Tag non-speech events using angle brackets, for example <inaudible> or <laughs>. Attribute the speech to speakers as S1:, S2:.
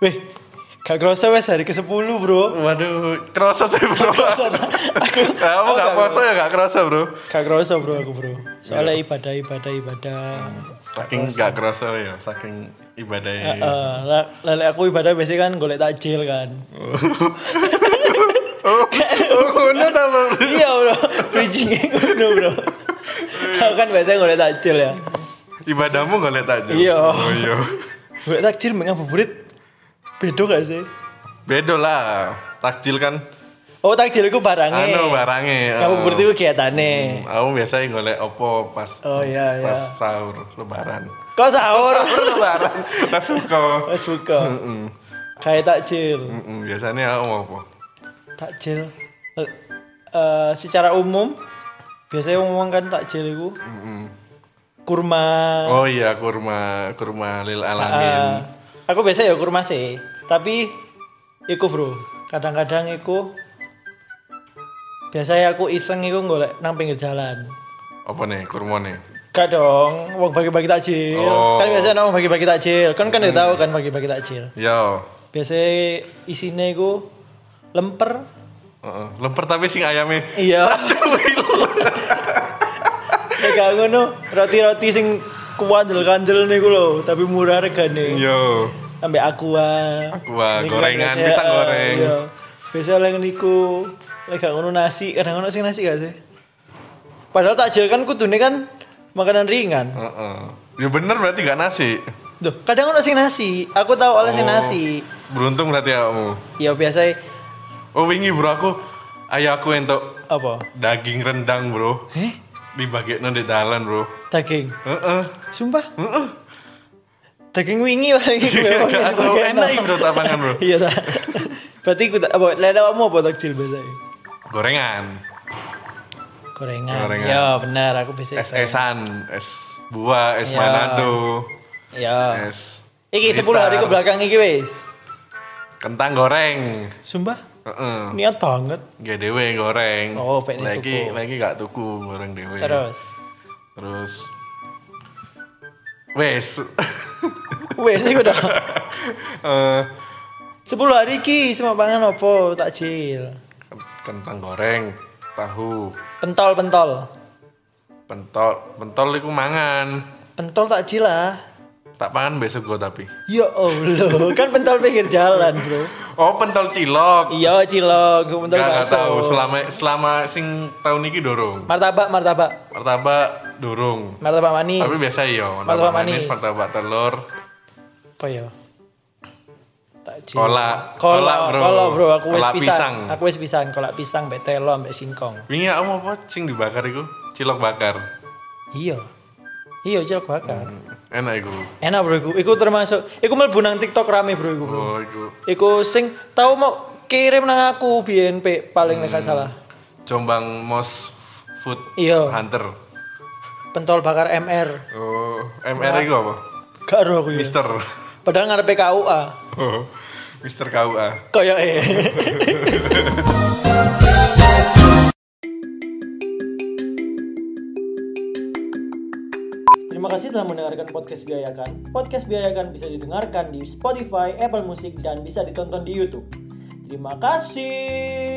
S1: Weh, gak kerasa wes hari ke-10, Bro.
S2: Waduh, kerasa sih bro. <laughs>
S1: Kerasa tak? Aku
S2: Kamu nggak puasa ya nggak kerasa bro.
S1: Gak kerasa, Bro, aku, Bro. Soalnya ibadah ibadah ibadah.
S2: Saking nggak kerasa ya, saking ibadahnya.
S1: Eh, la- Lele aku ibadah biasanya kan golek takjil kan.
S2: <laughs> Oh, kuno tau bro.
S1: iya, Bro. Bridging ngono, Bro. Aku kan biasanya golek takjil ya.
S2: Ibadahmu nggak lihat aja.
S1: Iya.
S2: Oh, iya.
S1: Golek takjil mek ngabuburit. Bedo gak sih?
S2: Bedo lah. Takjil kan.
S1: Oh, takjil iku barange.
S2: Anu barangnya. oh.
S1: Ngabuburit iku kegiatane.
S2: Aku biasanya golek opo pas
S1: Oh, iya,
S2: pas
S1: iya.
S2: sahur lebaran. <laughs>
S1: Kau sahur?
S2: Sahur lebaran. Pas buka.
S1: Wes buka. Kayak takjil.
S2: Mm-mm, Biasanya aku mau opo.
S1: takjil eh, eh, secara umum biasanya ngomong kan takjil itu kurma
S2: Oh iya kurma kurma lil
S1: Eh,
S2: alamin.
S1: aku biasa ya kurma sih tapi iku bro kadang-kadang iku biasanya aku iseng iku golek nang pinggir jalan
S2: Apa nih kurma nih?
S1: Gak dong, wong bagi-bagi takjil.
S2: Oh.
S1: Kan biasanya nang wong bagi-bagi takjil. Kan kan udah tahu kan bagi-bagi takjil.
S2: Yo.
S1: Biasanya isinya iku lemper.
S2: Heeh. Lemper tapi sing ayamnya
S1: Iya. <laughs> Nek gak ngono, roti-roti sing kuandel-kandel niku lho, tapi murah regane.
S2: Yo,
S1: Ambek aqua.
S2: Iya. Aqua,
S1: Niku
S2: gorengan,
S1: biasa,
S2: pisang
S1: eh,
S2: goreng.
S1: Iya. Biasa oleh niku. Lek gak ngono nasi, kadang ngono sing nasi gak sih? Padahal takjil kan kudune kan makanan ringan.
S2: Heeh. Ya bener berarti gak nasi.
S1: Duh, kadang ngono sing nasi. Aku tahu oleh sing
S2: Oh,
S1: nasi.
S2: Beruntung berarti kamu.
S1: Ya biasa
S2: Oh wingi bro aku, ayah aku entok
S1: apa?
S2: daging rendang bro.
S1: Eh,
S2: Dibagi di dalan bro.
S1: daging.
S2: Heeh.
S1: Sumpah,
S2: Heeh. Iya,
S1: daging wingi
S2: <laughs>
S1: paling iku memang
S2: Gak tau
S1: daging
S2: enak iki, bro tapangan bro.
S1: Iya ta. Berarti ikut apa lele kamu apa takjil biasa?
S2: Gorengan,
S1: Gorengan.
S2: Gorengan.
S1: Ya benar aku bisa.
S2: es esan, es buah, es
S1: Iya.
S2: manado,
S1: Ya.
S2: es.
S1: Iki 10
S2: blitar,
S1: hari ke belakang iki wis.
S2: Kentang goreng.
S1: Sumpah
S2: Heeh.
S1: niat banget.
S2: Gak dewe goreng.
S1: Oh, pengen
S2: lagi
S1: tuku.
S2: lagi gak tuku goreng dewe.
S1: Terus.
S2: Terus Wes. <laughs>
S1: Wis iku dah.
S2: Eh,
S1: 10 hari iki semua pangan opo takjil.
S2: kentang goreng, tahu,
S1: Pentol-pentol.
S2: pentol, pentol iku mangan.
S1: Pentol ah. takjil lah.
S2: Tak pangan besok gua tapi.
S1: Ya Allah, kan pentol pinggir jalan, Bro.
S2: Oh, pentol cilok.
S1: Iya, cilok, pentol
S2: Gak, gak
S1: bakso.
S2: tahu selama selama sing tahun ini dorong.
S1: Martabak, martabak.
S2: Martabak dorong.
S1: Martabak manis.
S2: Tapi biasa iya,
S1: Martabak
S2: martabak manis,
S1: manis.
S2: martabak telur,
S1: apa ya? Takjil.
S2: Kolak.
S1: Kolak,
S2: Kolak, bro.
S1: kolak, bro. Aku wis
S2: Kolak
S1: pisang.
S2: pisang.
S1: Aku wis pisang, kolak pisang mbek telo mbek singkong.
S2: Wingi kamu apa sing dibakar iku? Cilok bakar.
S1: Iya. Iya, cilok bakar.
S2: Hmm. Enak iku.
S1: Enak, bro. Iku, iku termasuk iku mlebu nang TikTok rame, bro, iku, bro.
S2: Oh, iku.
S1: Iku sing tau mau kirim nang aku BNP paling nek gak
S2: Hmm.
S1: salah.
S2: Jombang Mos Food
S1: Iya,
S2: Hunter.
S1: pentol bakar MR.
S2: Oh, MR iku apa?
S1: Gak ero aku ya.
S2: Mister.
S1: Padahal ngarepe KUA.
S2: Oh, Mister KUA.
S1: Kayak eh. Terima kasih telah mendengarkan podcast Biayakan. Podcast Biayakan bisa didengarkan di Spotify, Apple Music, dan bisa ditonton di YouTube. Terima kasih.